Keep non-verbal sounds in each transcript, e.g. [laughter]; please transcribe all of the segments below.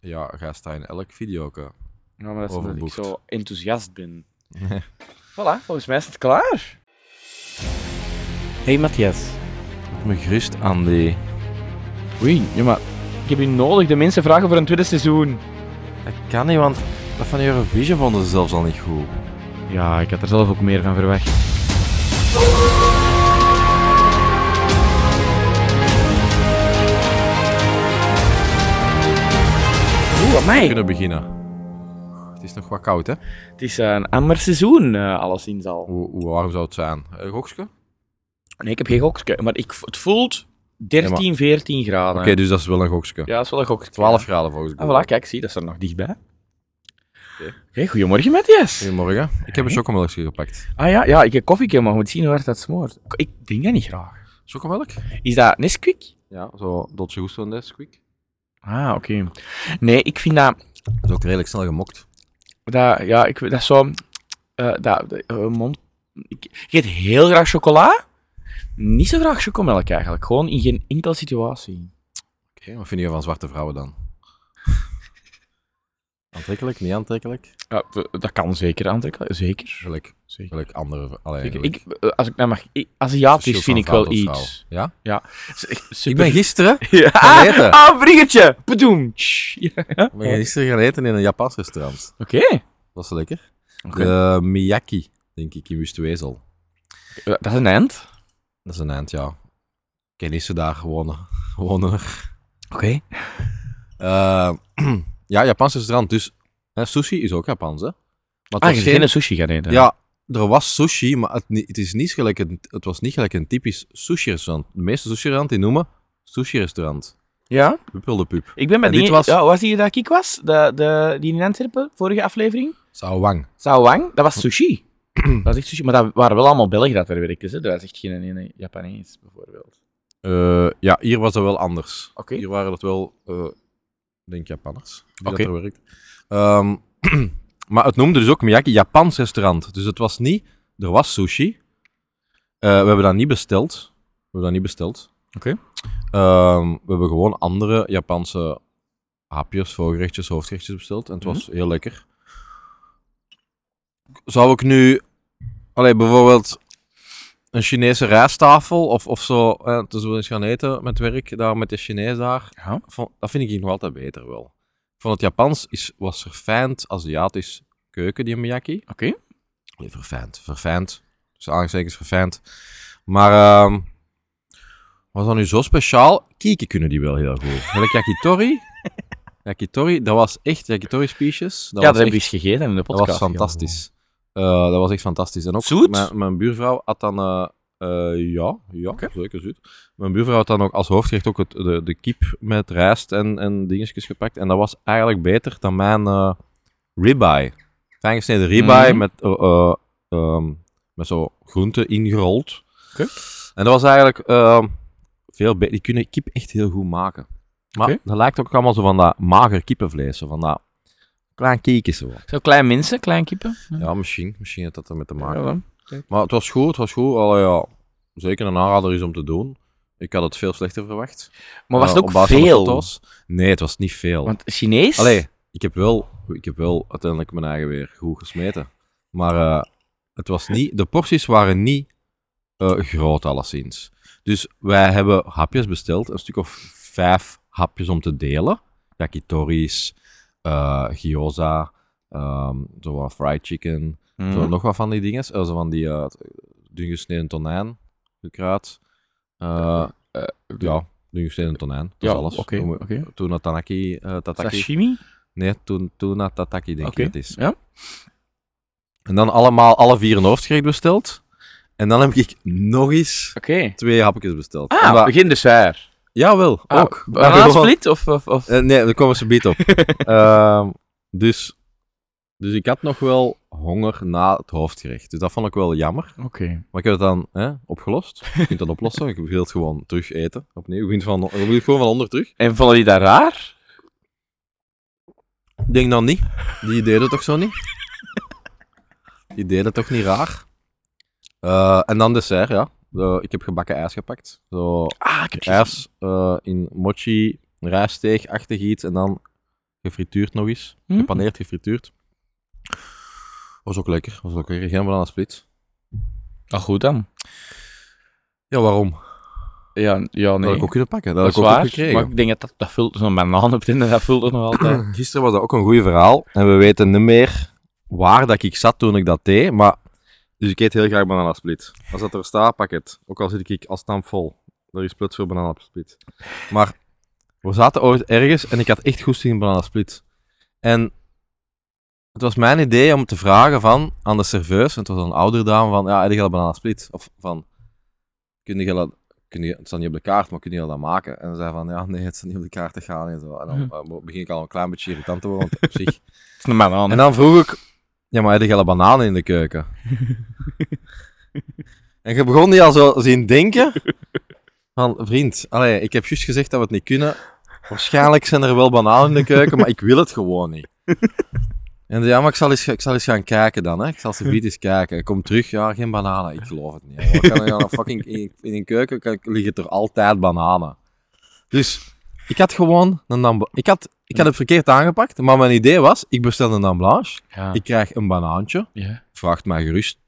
Ja, ga staan in elk video. ook, hè. Ja, maar dat is omdat ik Overboekt. zo enthousiast [laughs] ben. Voilà, volgens mij is het klaar. Hey Matthias. Doe Me gerust, Andy. Oei, ja, maar ik heb u nodig. De mensen vragen voor een tweede seizoen. Dat kan niet, want dat van Eurovision vonden ze zelfs al niet goed. Ja, ik had er zelf ook meer van verwacht. Oeh, We mij. kunnen beginnen. Het is nog wat koud, hè? Het is eh, een ander seizoen, eh alleszins al. Hoe, hoe warm zou het zijn? Een gokske? Oké, Nee, ik heb geen gokske, maar ik, het voelt 13, Ja, 14 graden. dus dat is wel een gokske. Ja, dat is wel een gokske. 12 graden volgens mij. Ah, voilà, kijk, zie, dat is er nog dichtbij. Oké, goedemorgen Matthias. Goedemorgen. Ik heb een chocomelkje gepakt. Ah ja, ja, ik heb koffie, maar moet zien hoe hard dat smoort. Ik drink dat niet graag. Chocomelk? Is dat Nesquik? Ja, zo Dolce Gusto en Nesquik. Ah, oké. Nee, ik vind dat... Dat is ook redelijk snel gemokt. dat ja, ik, dat is zo... eh, dat, de- eh, mond... Ik, ik eet heel graag chocola. Niet zo graag chocomelk eigenlijk. Gewoon in geen enkele situatie. Oké, wat vind je van zwarte vrouwen dan? [laughs] aantrekkelijk, niet aantrekkelijk? Ja, d- dat kan zeker aantrekken. Zeker. Gelijk, Zeker. gelijk andere... Allee, Ik, gelijk. ik, eh, als ik nou mag... ik- Aziatisch Verschil vind van ik vrouw wel tot vrouw. iets. Ja? S- echt Ik Super... ben gisteren... Ja. gaan eten. [laughs] Ah, een bringertje! Bedoem! Tsch. Ja. Ik ben Oh. gisteren gaan eten in een Japans restaurant. Oké. Dat is lekker. Oké. De Miyaki, denk ik, in Wustwezel. Eh, Dat is een eind. Dat is een eind, ja. Kennissen daar [laughs] gewonnen. gewonnen. Oké. Eh, [clears throat] ja, Japans restaurant. Dus hè, sushi is ook Japans, hè? Maar het Ah, was je bent geen sushi gaan eten. Ja, er was sushi, maar het, ni- het, is niet gelijk een, het was niet gelijk een typisch sushi-restaurant. De meeste sushi-restauranten die noemen sushi-restaurant. Ja? Pupil de pup. Ik ben bij En die... dit was- Ja, was die dat ik was? De, de, die in Antwerpen, vorige aflevering? Sawang. Sawang? Dat was [clears throat] sushi. dat was echt sushi. Maar dat waren wel allemaal Belgen dat er werkten. hè. Dat was echt geen ene Japanees, bijvoorbeeld. Eh, ja, hier was dat wel anders. Oké. Hier waren dat wel, eh, ik denk Japanners. die dat Oké. er werkten. Ehm, [clears throat] maar het noemde dus ook Miyaki Japans restaurant. Dus het was niet, er was sushi. Eh, we hebben dat niet besteld. We hebben dat niet besteld. Oké. Ehm, we hebben gewoon andere Japanse hapjes, voorgerechtjes, hoofdgerechtjes besteld. En het Mhm. was heel lekker. Zou ik nu, allee, bijvoorbeeld, een Chinese rijsttafel of, of zo. Eh, dus we eens gaan eten met werk daar met de Chinees daar. Ja. Vond- dat vind ik hier nog altijd beter wel. Van het Japans is, was verfijnd Aziatisch keuken, die Miyaki. Oké. Nee, verfijnd, verfijnd. Dus aangestekens verfijnd. Maar ehm wat is dan nu zo speciaal? Kieken kunnen die wel heel goed. [laughs] Gelijk yakitori. Yakitori, dat was echt yakitori spiesjes. ja, dat was heb ik echt- eens gegeten in de dat podcast. was fantastisch. Eh, dat was echt fantastisch. En ook Zoet? Mijn, mijn buurvrouw had dan. eh, eh, ja, ja zeker zoet. Mijn buurvrouw had dan ook als hoofdgerecht ook het, de, de kip met rijst en, en dingetjes gepakt. En dat was eigenlijk beter dan mijn eh, ribeye. Fijn gesneden ribeye Mhm. met, eh, eh, ehm, met zo groenten ingerold. Oké. En dat was eigenlijk ehm, veel beter. Die kunnen kip echt heel goed maken. Maar Oké. dat lijkt ook allemaal zo van dat mager kippenvlees. Zo van dat klein kiekje zo. Zo klein mensen, klein kippen. Ja, misschien. Misschien heeft dat er mee te maken. dan. Maar het was goed, het was goed. Allee, ja, zeker een aanrader is om te doen. Ik had het veel slechter verwacht. Maar was Eh, het op ook basis van de veel? foto's. Nee, het was niet veel. Want Chinees? Allee, ik heb, wel, ik heb wel uiteindelijk mijn eigen weer goed gesmeten. Maar eh, het was niet, de porties waren niet eh, groot alleszins. Dus wij hebben hapjes besteld, een stuk of vijf hapjes om te delen. Yakitori's, eh gyoza, ehm, zo wat fried chicken, Mhm. zo, nog wat van die dingen. zo van die eh dun gesneden tonijn, gekruid. Eh, ja, dun gesneden tonijn, dat Ja, is alles. oké, Toen we- oké. Toen het tanaki, eh, tataki. Sashimi? Nee, toen, toen had tataki denk Oké, ik dat is. ja. En dan allemaal alle vier een hoofdgerecht besteld. En dan heb ik nog eens Oké. twee hapjes besteld. Ah, Omdat- begin Ah, dus waar. Jawel, ook. Maar gewoon- Bananensplit of... of, of... eh, nee, daar komen ze beet op. Ehm, dus, dus ik had nog wel honger na het hoofdgerecht. Dus dat vond ik wel jammer. Oké. Maar ik heb het dan hè, opgelost. Je kunt dat oplossen. Ik wil het gewoon terug eten. Opnieuw. Je begint, van, je begint gewoon van onder terug. En vonden die dat raar? Ik denk dan niet. Die deden het toch zo niet? Die deden het toch niet raar? Eh, en dan dessert, ja. De- ik heb gebakken ijs gepakt. Zo Ah, ik heb ijs eh, in mochi, rijsteeg, achtergiet en dan gefrituurd nog eens. Mm. Gepaneerd, gefrituurd. Was ook lekker, was ook lekker. Geen bananensplit. Nou, goed dan. Ja, waarom? Ja, ja Dat nee. had ik ook kunnen pakken. Dat, Dat is had ik ook waar, gekregen. maar ik denk dat dat, dat vult zo'n banaan op in, dat vult er nog [clears throat] altijd. Gisteren was dat ook een goed verhaal. En we weten niet meer waar dat ik zat toen ik dat deed. Maar... Dus ik eet heel graag bananasplit. Als dat er staat, pak het. Ook al zit ik als stamp vol. Er is plots veel bananasplit. Maar we zaten ooit ergens en ik had echt goed zin in bananasplit. En het was mijn idee om te vragen van, aan de serveus, en het was een oudere dame, van ja, heb je al bananasplit? Of van, kun je dat... Kun je, het staat niet op de kaart, maar kun je dat maken? En ze zei van, ja, nee, het staat niet op de kaart te gaan. En, zo. en dan eh, begin ik al een klein beetje irritant te worden, want op zich Het is een banaan. en dan vroeg ik, ja, maar heb je al bananen in de keuken? en je begon die al zo zien denken. Van, vriend, allee, ik heb juist gezegd dat we het niet kunnen. Waarschijnlijk zijn er wel bananen in de keuken, maar ik wil het gewoon niet. En zei, ja, maar ik zal, eens, ik zal eens gaan kijken dan, hè. Ik zal ze bieden eens kijken. Ik kom terug, ja, geen bananen. Ik geloof het niet. jongen. Wat kan er dan een fucking, in, in een keuken kan, liggen er altijd bananen. Dus, ik had gewoon een nam- Ik had, ik had het verkeerd aangepakt, maar mijn idee was, ik bestel een ambulance. ja. Ik krijg een banaantje. ja. Vraagt mij gerust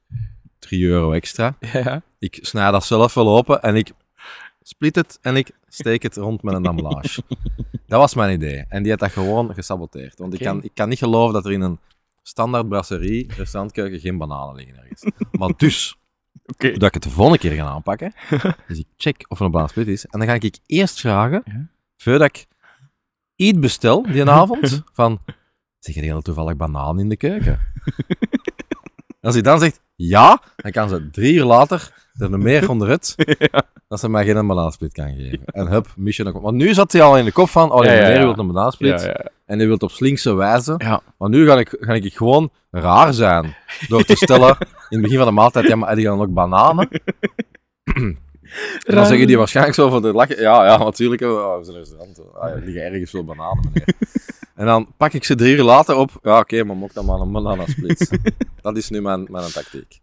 3 euro extra. Ja. Ik snij dat zelf wel open en ik split het en ik steek het rond met een [laughs] ambalage. dat was mijn idee. En die had dat gewoon gesaboteerd. Want Oké. ik, kan, ik kan niet geloven dat er in een standaard brasserie, restaurantkeuken, geen bananen liggen ergens. maar dus, Oké. dat ik het de volgende keer ga [laughs] aanpakken, dus ik check of er een bananensplit is. En dan ga ik eerst vragen, Ja. voordat ik iets bestel [laughs] die avond, van, zeg je heel toevallig banaan in de [laughs] keuken? Als hij dan zegt ja, dan kan ze drie uur later er een meer [laughs] onderuit dat ze mij geen bananensplit kan geven. En hup, mission accomplished. Want nu zat hij al in de kop van, oh, die Ja, ja, meneer ja. wil een bananensplit Ja, ja. en die wil op slinkse wijze. Ja. Maar nu ga ik, ga ik gewoon raar zijn door te [laughs] stellen in het begin van de maaltijd, ja, maar heb je dan ook bananen? En dan zeggen die waarschijnlijk zo van de lachen. Ja, ja, natuurlijk. hebben we- oh, we zijn een restaurant. Ah, ja, er liggen ergens veel bananen, [laughs] meneer. en dan pak ik ze drie uur later op. Ja, oké, maar mok dan maar een bananasplit. dat is nu mijn, mijn tactiek.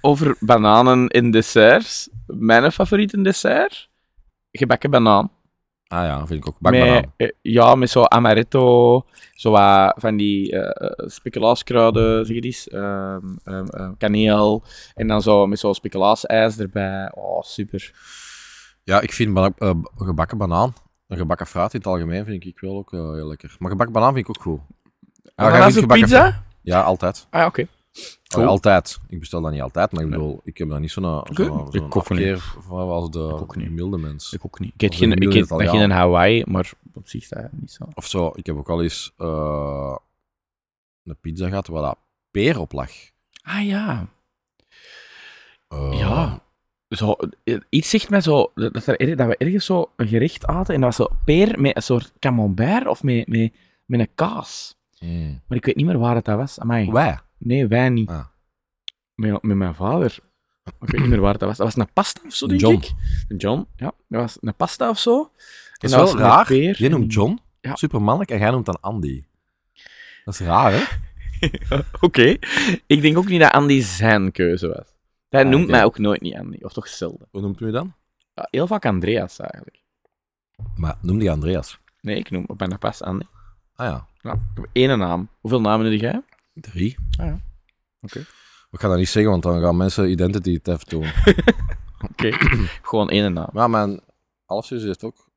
Over bananen in desserts. Mijn favoriete dessert? Gebakken banaan. Ah ja, vind ik ook. Bakbanaan. Met, eh, ja, met zo amaretto, zo wat van die eh eh, speculaaskruiden, zeg je die? eens, ehm, ehm, ehm, kaneel. En dan zo met zo'n speculaasijs erbij. Oh, super. Ja, ik vind bana- eh, gebakken banaan. Een gebakken fruit in het algemeen vind ik wel ook eh, heel lekker. Maar gebakken banaan vind ik ook goed. Ja, jij Ananas vindt op gebakken pizza? fruit- Ja, altijd. Ah, ja, oké. Allee, Cool. altijd. Ik bestel dat niet altijd, maar ik bedoel, ik heb daar niet zo'n zo'n Ik zo'n ook niet. afkeer van als de ook niet. gemiddelde mens. Ik ook niet. Ik eet Of geen, een ik miljoen eet Italiaan. geen Hawaii, maar op zich is dat niet zo. Of zo, ik heb ook al eens eh, een pizza gehad waar dat peer op lag. Ah ja. Eh, Ja. Zo, eh, iets zegt mij zo dat, dat er, er- dat we ergens zo een gerecht aten en dat was zo peer met een soort camembert of met, met, met een kaas. mm. Maar ik weet niet meer waar het dat was. Amai. Wij? Nee, wij niet. Ah. Met, met mijn vader. Ik weet niet meer waar dat was. Dat was een pasta of zo, denk John. ik. John, ja. Dat was een pasta of zo. [laughs] En Dat is dat was wel met raar. Nou, peer Jij noemt en- John, Ja. supermannelijk, en jij noemt dan Andy. Dat is raar, hè? Oké. Ik denk ook niet dat Andy zijn keuze was. Hij Ah, noemt oké. mij ook nooit niet Andy, of toch zelden. Hoe noemt u je dan? Ja, heel vaak Andreas eigenlijk. Maar noem die Andreas. Nee, ik noem hem bijna pas Andy. Ah ja, Ja, ik heb één naam. Hoeveel namen heb jij? drie. Ah ja. Oké. We gaan dat niet zeggen, want dan gaan mensen identity theft doen. Oké. Gewoon één naam. maar mijn halfzus heeft ook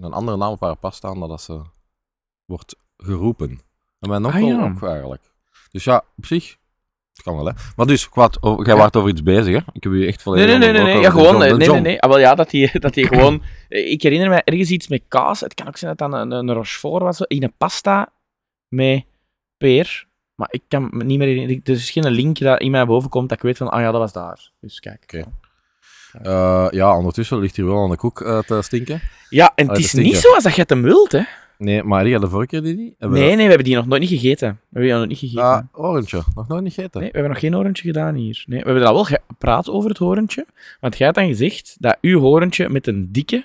een andere naam op haar pas staan dan dat ze wordt geroepen. En mijn Ah, onkel ja. ook eigenlijk. Dus ja, op zich, het kan wel hè. Maar dus, kwaad, oh, jij Ja. waart over iets bezig hè? Ik heb u echt Nee, volledig nee, nee, nee, nee. onderbroken Ja, over gewoon. John. eh, De Nee, nee, John. nee. Ah, wel ja, dat die, dat die gewoon. eh, Ik herinner me ergens iets met kaas. Het kan ook zijn dat dat een, een rochefort was. zo, In een pasta met peer. Maar ik kan me niet meer herinneren. Er is geen link dat in mij boven komt dat ik weet van, ah ja, dat was daar. Dus kijk. Oké. Eh, ja, ondertussen ligt hier wel aan de koek eh, te stinken. Ja, en dat het is stinkt, niet ja. zoals Ah, dat je het hem wilt, hè? Nee, maar die had de vorige keer die niet. Hebben Nee, nee, we hebben die nog nooit niet gegeten. We hebben die nog nooit niet we- gegeten. Ah, oranje, nog nooit niet gegeten. Nee, we hebben nog geen horentje gedaan hier. Nee, we hebben daar wel gepraat over het horentje. Want jij hebt dan gezegd dat uw horentje met een dikke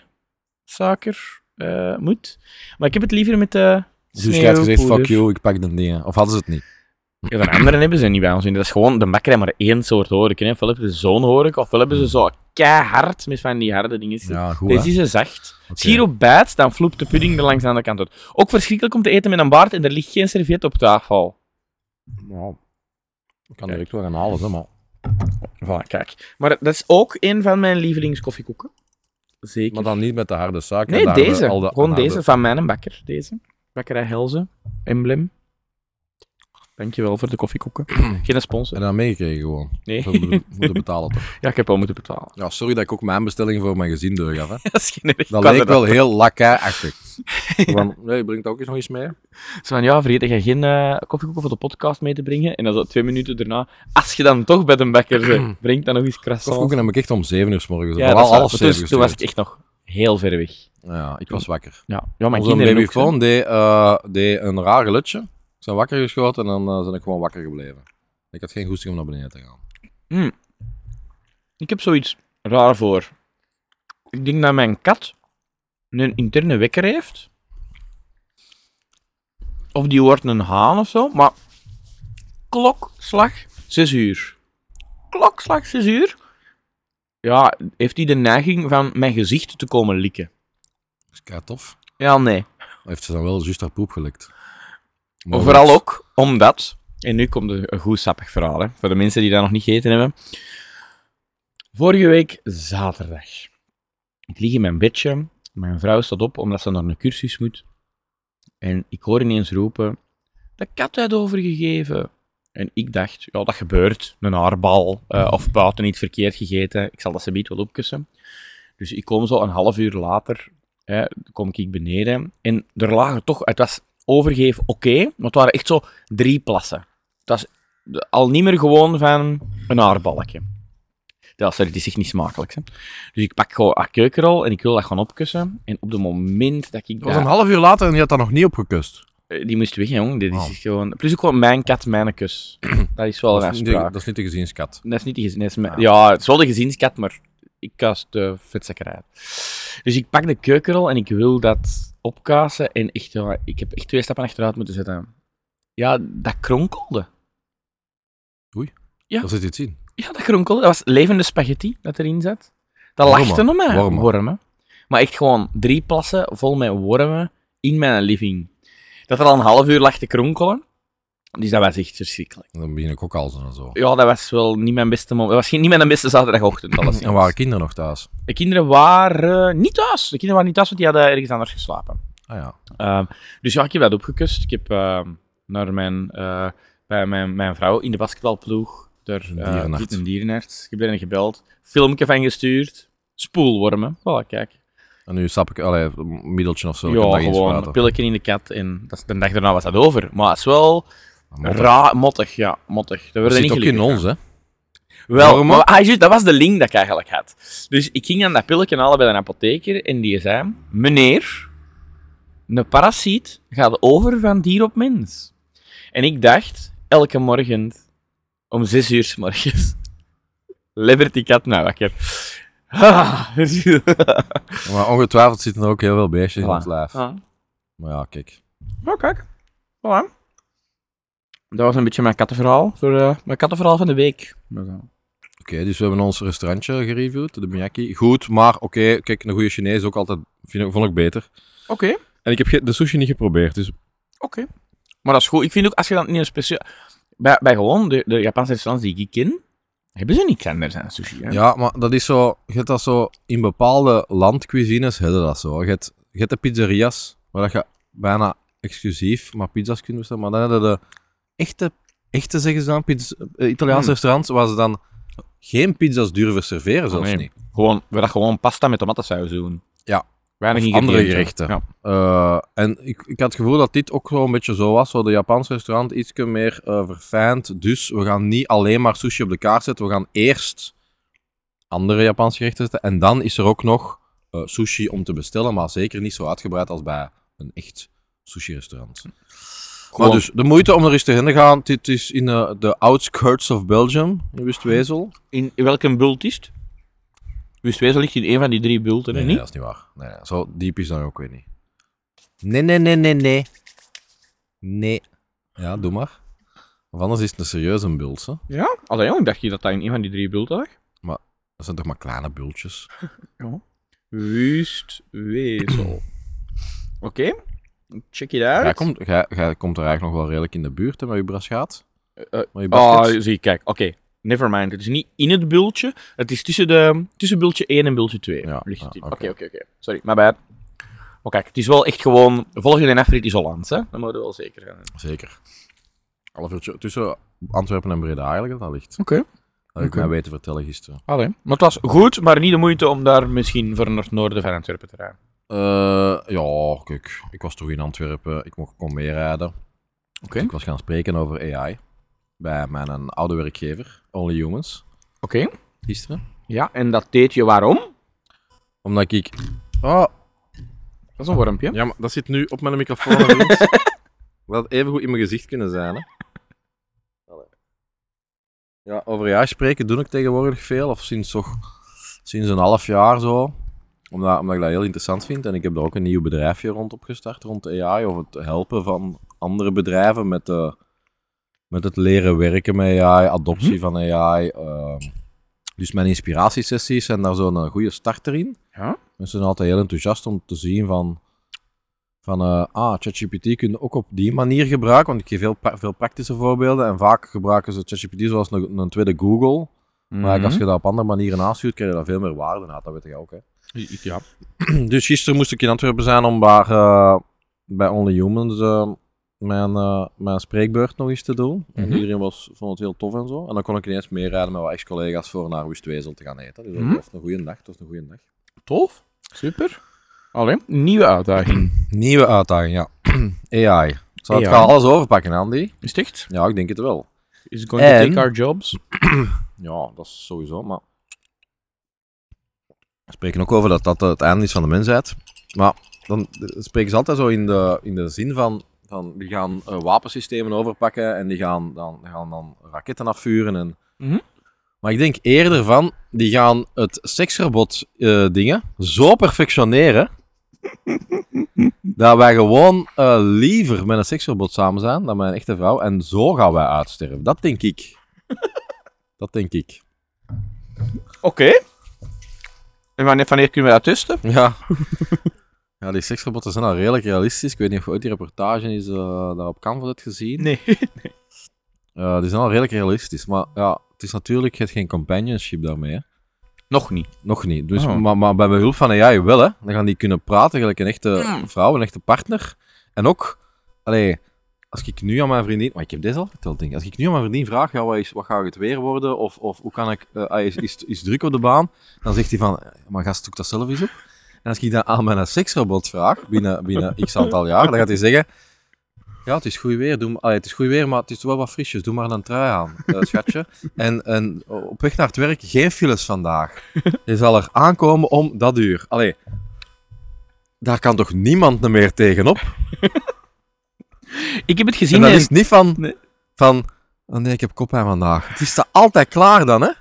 suiker eh, moet. Maar ik heb het liever met de Dus jij had gezegd, sneeuwpoeder. fuck you, ik pak de dingen. Of hadden ze het niet? Ja, de anderen hebben ze niet bij ons in. Dat is gewoon, de bakker heeft maar één soort horeca. Hè. Ofwel hebben ze zo'n horeca, ofwel hebben ze zo keihard met van die harde dingen. Hmm. Ja, goed. Deze hè? is een zacht. Oké. Als je hierop bijt, dan floept de pudding er langs aan de kant uit. Ook verschrikkelijk om te eten met een baard en er ligt geen serviet op tafel. Nou, ik kan direct wel gaan halen, hè, maar... Voilà, kijk. Maar dat is ook een van mijn lievelingskoffiekoeken. Zeker. Maar dan niet met de harde zaak. nee, met de harde- deze. al de- Gewoon harde- deze, van mijn bakker. Deze. Bakkerij Helze. Emblem. Dankjewel voor de [clears throat] koffiekoeken. Geen sponsor. En dan meegekregen gewoon. Nee. Dat we moeten- moeten betalen toch. [laughs] Ja, ik heb al moeten betalen. Ja, sorry dat ik ook mijn bestelling voor mijn gezin [laughs] doorgaf, hè. Dat is geen [laughs] erg. Dat Ik was leek er wel heel [laughs] lakai-achtig. Van, Nee, brengt ook eens nog iets mee. Zo van, ja, vergeet dat je geen eh koffiekoeken voor de podcast mee te brengen. En dan zo twee minuten daarna, als je dan toch bij de [clears throat] bakker bent, breng dan nog eens croissant. Koffiekoeken heb ik echt om 7 uur s morgens. Ja, Ja, dat is Vooral waar. half Maar toen, 7 uur. toen was ik echt nog heel ver weg. Ja, ik was wakker. Ja, ja mijn Onze kinderen ook, hè. babyfoon deed, eh, deed een raar gelutje. Ik ben wakker geschoten en dan eh, ben ik gewoon wakker gebleven. Ik had geen goesting om naar beneden te gaan. Ik heb zoiets raar voor. Ik denk dat mijn kat een interne wekker heeft. Of die wordt een haan of zo. Maar klokslag 6 uur. Klokslag 6 uur. Ja, heeft hij de neiging van mijn gezicht te komen likken? Dat is kei tof. Ja, nee. Maar Heeft ze dan wel juist haar poep gelikt. Maar Maar vooral goed. ook omdat, en nu komt een een goed sappig verhaal, hè, voor de mensen die dat nog niet gegeten hebben. Vorige week zaterdag. Ik lig in mijn bedje, mijn vrouw staat op omdat ze naar een cursus moet. En ik hoor ineens roepen, de kat had overgegeven. En ik dacht, ja, dat gebeurt. Een haarbal eh, of buiten niet verkeerd gegeten. Ik zal dat ze wel opkussen. Dus ik kom zo een half uur later, hè, kom ik beneden. En er lagen toch, het was overgeven oké, maar het waren echt zo drie plassen. Het was de- al niet meer gewoon van een haarbalkje. Ja, sorry, het is echt niet smakelijk. Hè. Dus ik pak gewoon een keukenrol en ik wil dat gaan opkussen. En op het moment dat ik Het was dat- een half uur later en die had dat nog niet opgekust. eh, Die moest weg, jong. Dit is Oh. echt gewoon... Plus ook gewoon mijn kat, mijn kus. [clears throat] dat is wel een dat, is niet de, afspraak. dat is niet de gezinskat. Dat is niet de gezin. dat is mijn- Ah. Ja, het is wel de gezinskat, maar ik kast de vetzakker uit. Dus ik pak de keukenrol en ik wil dat opkassen. En echt, ja, ik heb echt twee stappen achteruit moeten zetten. Ja, dat kronkelde. Ja. Daar zit iets in. Ja, dat kronkelde. Dat was levende spaghetti dat erin zat. Dat Wormen. lachte om mij. Wormen. Wormen. Maar echt gewoon drie plassen vol met wormen in mijn living. Dat er al een half uur lag te kronkelen. Dus dat was echt verschrikkelijk. En Dan begin ik ook al zo en zo. Ja, dat was wel niet mijn beste moment. Dat was geen- niet mijn beste [clears throat] zaterdagochtend. alleszins. En waren kinderen nog thuis? De kinderen waren niet thuis. De kinderen waren niet thuis, want die hadden ergens anders geslapen. Ah ja. Ehm, dus ja, ik heb dat opgekust. Ik heb ehm, naar mijn, eh, bij mijn, mijn vrouw in de basketbalploeg, daar Een eh, dierenarts. zit een dierenarts. Ik heb daarin gebeld, filmpje van gestuurd, spoelwormen. Voilà, kijk. En nu sap ik allee, een middeltje of zo. ik kan ja, dat gewoon een inspuiten. pilletje in de kat en dat, is- de dag daarna was dat over. Maar het is wel Maar dat- raar, mottig, ja, mottig. Dat Dat werd er zit niet ook in gelukkig ons, hè. Wel, Waarom maar, ook? ah, juist, dat was de link dat ik eigenlijk had. Dus ik ging aan dat pilletje halen bij de apotheker en die zei: Meneer, een parasiet gaat over van dier op mens. En ik dacht, elke morgen om zes uur s morgens, [laughs] lebbert die kat nou [laughs] wakker. Ah, Maar ongetwijfeld zitten er ook heel veel beestjes in Voilà. ons lijf. ah. Maar ja, kijk. Oh, kijk. Voilà. Dat was een beetje mijn kattenverhaal, voor, eh, mijn kattenverhaal van de week. Oké, dus we hebben ons restaurantje gereviewd, de Miyaki. Goed, maar oké, kijk, een goede Chinees ook altijd, vind ik, vond ik beter. Oké. En ik heb ge- de sushi niet geprobeerd, dus... Oké. Maar dat is goed. Ik vind ook, als je dan in een speciaal... Bij, bij gewoon de, de Japanse restaurants die ik ken, hebben ze niks anders aan sushi. Hè? Ja, maar dat is zo, je hebt dat zo, in bepaalde landcuisines hebben dat zo. Je hebt, je hebt de pizzerias, waar dat je bijna exclusief maar pizza's kunt bestellen, maar dan hebben de echte, echte zeggen ze dan, pizz- eh, Italiaanse Hmm. restaurants, waar ze dan geen pizza's durven serveren, zelfs Ah, nee. niet. Gewoon, waar dat gewoon pasta met tomatensaus doen. Ja. Weinig Of ingrediënten. andere gerechten. Ja. Eh, en ik, ik had het gevoel dat dit ook zo een beetje zo was. Zo de Japanse restaurant iets meer eh, verfijnd. Dus we gaan niet alleen maar sushi op de kaart zetten. We gaan eerst andere Japanse gerechten zetten. En dan is er ook nog eh, sushi om te bestellen. Maar zeker niet zo uitgebreid als bij een echt sushi-restaurant. Maar Gewoon- dus, de moeite om er eens te heen te gaan. Dit is in eh, de outskirts of Belgium, in Westwezel. In, in welke bult is het? Wustwezel ligt in een van die drie bulten, hè? Nee, nee, niet? dat is niet waar. Nee, nee, zo diep is dat ook weer niet. Nee, nee, nee, nee, nee. Nee. Ja, doe maar. Of anders is het een serieuze bult, hè? Ja? Allee, jong, ik dacht je dat dat in een van die drie bulten lag. Dat zijn toch maar kleine bultjes. Wustwezel. Oké. Check it out. Jij komt, jij, jij komt er eigenlijk nog wel redelijk in de buurt hè, met je brasgaat. eh, met je Ah, baskets. zie, kijk. Oké, never mind. Het is niet in het bultje. Het is tussen, de, tussen bultje 1 en bultje 2. Ja, ligt het ja, in. oké. Oké, oké, oké. Sorry, my bad. Maar kijk, het is wel echt gewoon... Volg je de afrit is Hollands, hè? Dat moeten we wel zeker zijn. Zeker. Half uurtje tussen Antwerpen en Breda eigenlijk dat dat ligt. Oké. Dat heb ik Oké. mij weten vertellen gisteren. Allee. Maar het was goed, maar niet de moeite om daar misschien voor naar het noorden van Antwerpen te rijden. Eh, ja, kijk. Ik was toch in Antwerpen. Ik mocht kon meerijden. Oké. Dus ik was gaan spreken over AI. Bij mijn eh, oude werkgever, Only Humans, Oké. gisteren. Ja, en dat deed je waarom? Omdat ik... Oh, Dat is een wormpje. ja, maar dat zit nu op mijn microfoon. hè, vriend. [laughs] Dat had even goed in mijn gezicht kunnen zijn, hè. Ja, over AI spreken doe ik tegenwoordig veel. Of sinds toch... Sinds een half jaar zo. Omdat, omdat ik dat heel interessant vind. En ik heb daar ook een nieuw bedrijfje rond opgestart, rond AI. Of het helpen van andere bedrijven met, de, met het leren werken met AI, adoptie van AI. ehm. dus mijn inspiratiesessies zijn daar zo'n eh, goede starter in. Ja. Mensen zijn altijd heel enthousiast om te zien van... Van, eh, ah, ChatGPT kun je ook op die manier gebruiken, want ik geef heel pra- veel praktische voorbeelden. En vaak gebruiken ze ChatGPT zoals een, een tweede Google. Maar als Mm. je dat op andere manieren aanstuurt, krijg je daar veel meer waarde uit. Dat weet je ook, hè. [clears throat] Ja. Dus gisteren moest ik in Antwerpen zijn om daar eh, bij Only Humans eh, mijn, eh, mijn spreekbeurt nog eens te doen. En Mhm. iedereen was, vond het heel tof en zo. En dan kon ik ineens meerijden met wat ex-collega's voor naar Wustwezel te gaan eten. Dus dat Mhm. was een goede nacht, dat was een goede dag. Tof. Super. Allee, nieuwe uitdaging. Nieuwe uitdaging, ja. [clears throat] AI. Zou het AI? gaan alles overpakken, Andy? [clears throat] Is het echt? Ja, ik denk het wel. Is it going to En- take our jobs? Ja, dat is sowieso, maar... We spreken ook over dat dat het einde is van de mensheid. Maar dan eh, spreken ze altijd zo in de, in de zin van... van die gaan eh, wapensystemen overpakken en die gaan dan, die gaan dan raketten afvuren. En... Mhm. Maar ik denk eerder van, die gaan het seksverbod eh, dingen zo perfectioneren... dat wij gewoon eh, liever met een seksverbod samen zijn dan met een echte vrouw. En zo gaan wij uitsterven. Dat denk ik. Dat denk ik. Oké. En wanneer, wanneer kunnen we dat testen? Ja. ja, die seksrobotten zijn al redelijk realistisch. Ik weet niet of je ooit die reportage is, eh, daar op Canvas hebt gezien. Nee. [laughs] Eh, die zijn al redelijk realistisch. Maar ja, het is natuurlijk je hebt geen companionship daarmee. hè. Nog niet. Nog niet. Dus, Oh. maar, maar bij behulp van AI wel, hè. Dan gaan die kunnen praten, gelijk een echte Mm. vrouw, een echte partner. En ook, allee, als ik nu aan mijn vriendin... Maar ik heb dit al verteld, denk ik. Als ik nu aan mijn vriendin vraag, ja, wat, is, wat gaat het weer worden? Of, of hoe kan ik... eh, ah, is, is, is druk op de baan? Dan zegt hij van, "Eh, maar gast, zoek dat zelf eens op. En als ik dat aan mijn seksrobot vraag, binnen, binnen x aantal jaar, dan gaat hij zeggen... Ja, het is goed weer, doe, maar- allee, het is goed weer, maar het is wel wat frisjes. Doe maar een trui aan, eh, schatje. En, en op weg naar het werk, geen files vandaag. Je zal er aankomen om dat uur. Allee, daar kan toch niemand meer tegenop? Ik heb het En gezien dat en- is niet van, Nee. van oh nee, ik heb koppijn vandaag. Het is er altijd klaar dan, hè?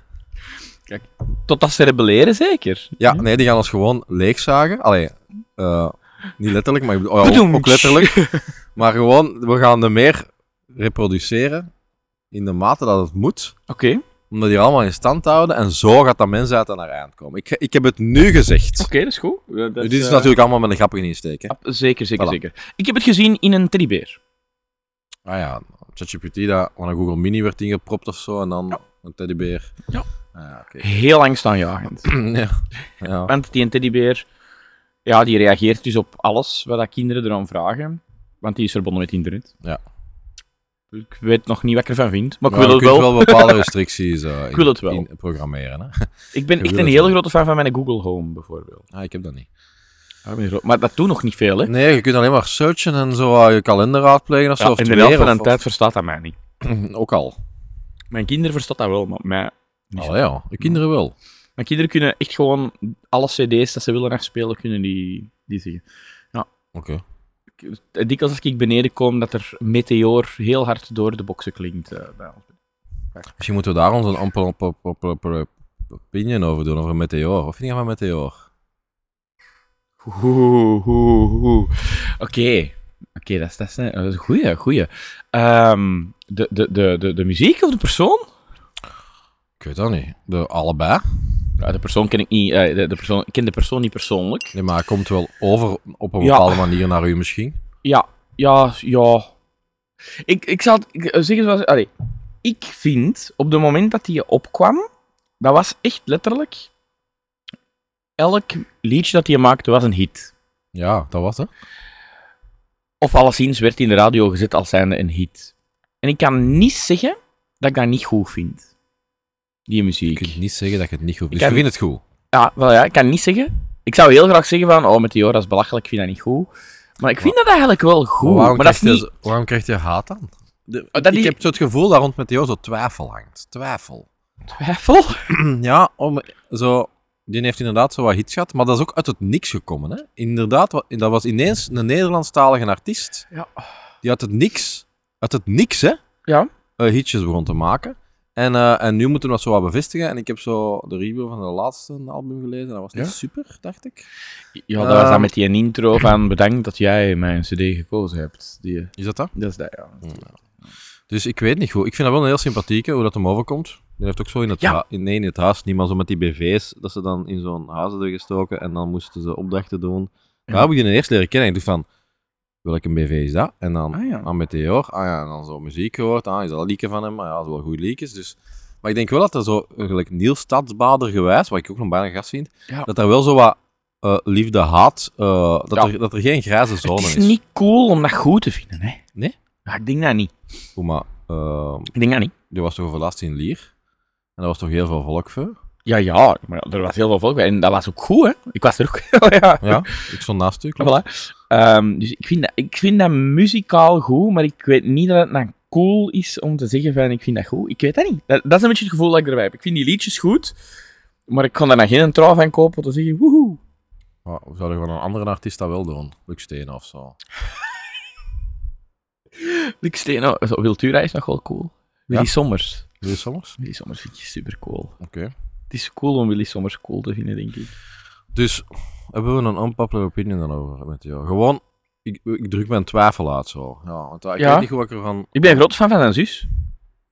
totdat ze rebelleren, zeker. Ja, nee, die gaan ons gewoon leegzagen. Allee, eh, niet letterlijk, maar ik bedoel- oh ja, ook, Bedoemtsch. ook [laughs] letterlijk. Maar gewoon, we gaan er meer reproduceren in de mate dat het moet. Oké. Om dat hier allemaal in stand te houden. En zo gaat dat mens uit aan haar eind komen. Ik, ik heb het nu gezegd. Oké, dat is goed. Ja, dat Dit is eh, natuurlijk allemaal met een grappige insteek, hè? ab- Zeker, zeker, Voilà. zeker. Ik heb het gezien in een teddybeer. Ah ja, ChatGPT dat van een Google Mini werd ingepropt of zo en dan een teddybeer. Ja. Ah, ja, oké. [laughs] Heel angstaanjagend. ja. ja. Want die teddybeer, ja, die reageert dus op alles wat dat kinderen eraan vragen. Want die is verbonden met internet. Ja. Dus ik weet nog niet wat ik ervan vind, maar ik Maar wil je het kunt wel. wel bepaalde restricties [laughs] eh, in, wil het wel. in programmeren. Hè? Ik ben je echt wil een het hele wel. grote fan van mijn Google Home, bijvoorbeeld. Ah, ik heb dat niet. Ja, ik ben een gro- Maar dat doet nog niet veel, hè. Nee, je kunt alleen maar searchen en zo eh, je kalender raadplegen of zo. Ja, of in de het helft weer, van de of- tijd verstaat dat mij niet. of- Ook al. Mijn kinderen verstaan dat wel, maar mij... niet zo. Allee, ja, de kinderen wel. Mijn kinderen kunnen echt gewoon alle cd's dat ze willen afspelen, kunnen die, die zeggen. Oké. Ik- Dikwijls als ik beneden kom, dat er meteor heel hard door de boxen klinkt. eh, bij ons. Misschien moeten we daar onze amper- op- op- op- op- op- opinion over doen, over een meteoor. Of vind je van meteoor? Oeh, oeh, oeh. Oké, Oké, dat is, dat is een dat is een goeie, goeie. Ehm, de, de, de, de, de muziek of de persoon? Ik weet dat niet. De allebei. Ja, de persoon ken ik niet, eh, de, de persoon, ik ken de persoon niet persoonlijk. Nee, maar hij komt wel over op een Ja. bepaalde manier naar u misschien. Ja, ja, ja. Ik, ik zal het ik- eh, zeggen zoals... Allee, ik vind, op het moment dat hij opkwam, dat was echt letterlijk... Elk liedje dat hij maakte was een hit. Ja, dat was het. Of alleszins werd hij in de radio gezet als zijnde een hit. En ik kan niet zeggen dat ik dat niet goed vind. Die Je muziek. kunt niet zeggen dat je het niet goed vindt. heb- Dus je vindt het goed. Ja, wel ja, ik kan niet zeggen. Ik zou heel graag zeggen van, oh, Meteor, dat is belachelijk, ik vind dat niet goed. Maar ik vind dat eigenlijk wel goed. Maar Maar, waarom, dat is krijgt niet... je, waarom krijgt je haat dan? dat is ik heb zo het gevoel dat rond met jou zo twijfel hangt. Twijfel. twijfel. [clears throat] ja, om, zo, die heeft inderdaad zo wat hits gehad, maar dat is ook uit het niks gekomen. Hè? Inderdaad, wa- dat was ineens een Nederlandstalige artiest Ja. die uit het niks, uit het niks hè, Ja. eh, hitjes begon te maken. En, eh, en nu moeten we dat zo wat bevestigen. En ik heb zo de review van de laatste album gelezen. Dat was niet Ja? super, dacht ik. Ja, dat was dan Ehm. met die intro van bedankt dat jij mijn cd gekozen hebt. Die, eh, Is dat dat? dat is dat, ja. Dus ik weet niet goed. Ik vind dat wel een heel sympathieke, hoe dat hem overkomt. Die heeft ook zo in het, Ja. hu- in, nee, in het huis, niet maar zo met die BV's, dat ze dan in zo'n huis hadden gestoken en dan moesten ze opdrachten doen. Daar heb ik je eerst leren kennen. Ik dacht van, welke BV is dat? En dan Ah, ja. aan Meteor, ah ja, en dan zo muziek gehoord, ah, is dat een liedje van hem? Maar ja, dat is wel goed liedjes, dus... Maar ik denk wel dat er zo, eh, gelijk Niels Stadsbader gewijs, wat ik ook nog bijna gast vind, Ja. dat er wel zo wat eh, liefde, haat, eh, dat, Ja. er, dat er geen grijze Het zone is is. niet cool om dat goed te vinden, hè. Nee? Ja, ik denk dat niet. Goed, maar... ehm, Ik denk dat niet. Die was toch overlast in Lier? En dat was toch heel veel volk voor? Ja, ja, maar er was heel veel volk bij. En dat was ook goed, hè. Ik was er ook. [laughs] ja. Ja, ik stond naast u. klopt. Ah, Voilà. Ehm, dus ik vind, dat, ik vind dat muzikaal goed, maar ik weet niet dat het dan cool is om te zeggen van ik vind dat goed. Ik weet dat niet. Dat, dat is een beetje het gevoel dat ik erbij heb. Ik vind die liedjes goed, maar ik kan daar dan geen trouw van kopen om te zeggen woehoe. Maar we zouden gewoon een andere artiest dat wel doen. Luc Steen of zo. Luc Steno, nou, zo, Wiltura is nog wel cool. Willy Sommers. Wil je soms? Willy Sommers vind je super cool. Oké. Het is cool om Willy Sommers cool te vinden, denk ik. Dus, hebben we een unpopular opinion dan over met jou? Gewoon, ik, ik druk mijn twijfel uit zo. Ja, want eh, ik Ja. weet niet hoe ik ervan... Ik ben groot fan van zijn zus.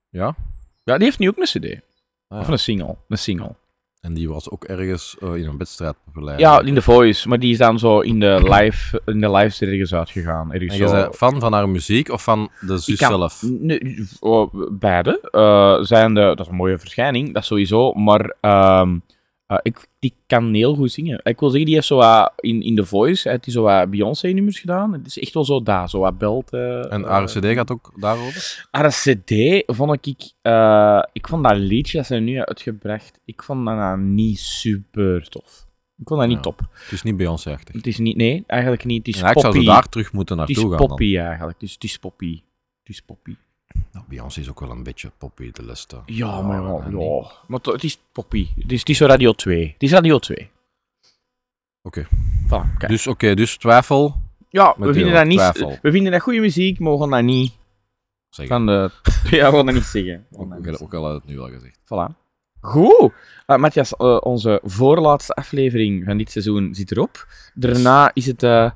Ja? Ja, die heeft nu ook een cd. Ah, Of ja. een single. Een single. En die was ook ergens eh, in een wedstrijd populair. Ja, in de voice, maar die is dan zo in [coughs] de live, in de live ergens uitgegaan. Ergens En je zo- bent fan van haar muziek of van de Ik zus kan- zelf? Nee, oh, beide. eh, zijn de, dat is een mooie verschijning, dat sowieso. Maar ehm, eh, ik, die kan heel goed zingen. Ik wil zeggen, die heeft zo wat in, in The Voice, heeft die zo wat Beyoncé-nummers gedaan. Het is echt wel zo daar, zo wat belt. eh, En eh, haar cd gaat ook daarover? RCD vond ik... eh, ik vond dat liedje dat ze nu heeft uitgebracht, ik vond dat nou niet super tof. Ik vond dat niet Ja. top. Het is niet Beyoncé-achtig. Het is niet... Nee, eigenlijk niet. Het is En eigenlijk zou poppy. ze daar terug moeten het is naartoe gaan dan. poppy eigenlijk. Het is, het is poppy. Het is poppy. Nou, Beyoncé is ook wel een beetje poppy de leste. Ja, maar ja. en niet. ja. Maar to- het is poppy. Het is, het is zo Radio 2. Het is Radio 2. Oké. Voilà, kijk. Dus oké, dus twijfel. ja, we met vinden, heel dat niet, twijfel. we vinden dat goede muziek, maar we gaan dat niet Zeg [laughs] van de... Ja, we gaan dat niet zeggen. We ook, gaan dat ook, niet al- ook al had het nu al gezegd. Voilà. Goed. Eh, Matthias, eh, onze voorlaatste aflevering van dit seizoen zit erop. Daarna is het eh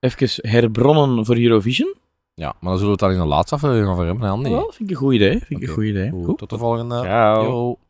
even herbronnen voor Eurovision. Ja, maar dan zullen we het daar in de laatste aflevering over hebben. hè, Andy. Wel, vind ik een goed idee. Vind ik Oké. een goed idee. Goed, Goed. Tot de volgende. Ciao. Yo.